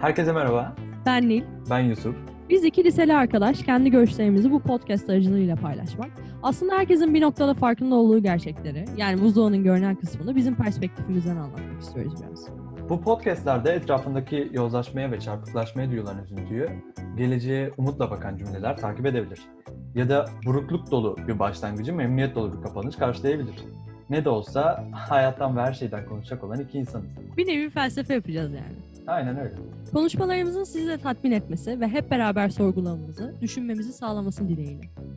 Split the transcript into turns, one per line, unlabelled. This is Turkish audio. Herkese merhaba.
Ben Nil.
Ben Yusuf.
Biz iki liseli arkadaş kendi görüşlerimizi bu podcast aracılığıyla paylaşmak. Aslında herkesin bir noktada farkında olduğu gerçekleri, yani buzdağının görünen kısmını bizim perspektifimizden anlatmak istiyoruz biraz.
Bu podcastlerde etrafındaki yozlaşmaya ve çarpıklaşmaya duyulan üzüntüyü geleceğe umutla bakan cümleler takip edebilir. Ya da burukluk dolu bir başlangıcı memnuniyet dolu bir kapanış karşılayabilir. Ne de olsa hayattan ve her şeyden konuşacak olan iki insanız.
Bir nevi felsefe yapacağız yani.
Aynen öyle.
Konuşmalarımızın sizi de tatmin etmesi ve hep beraber sorgulamamızı, düşünmemizi sağlaması dileğiyle.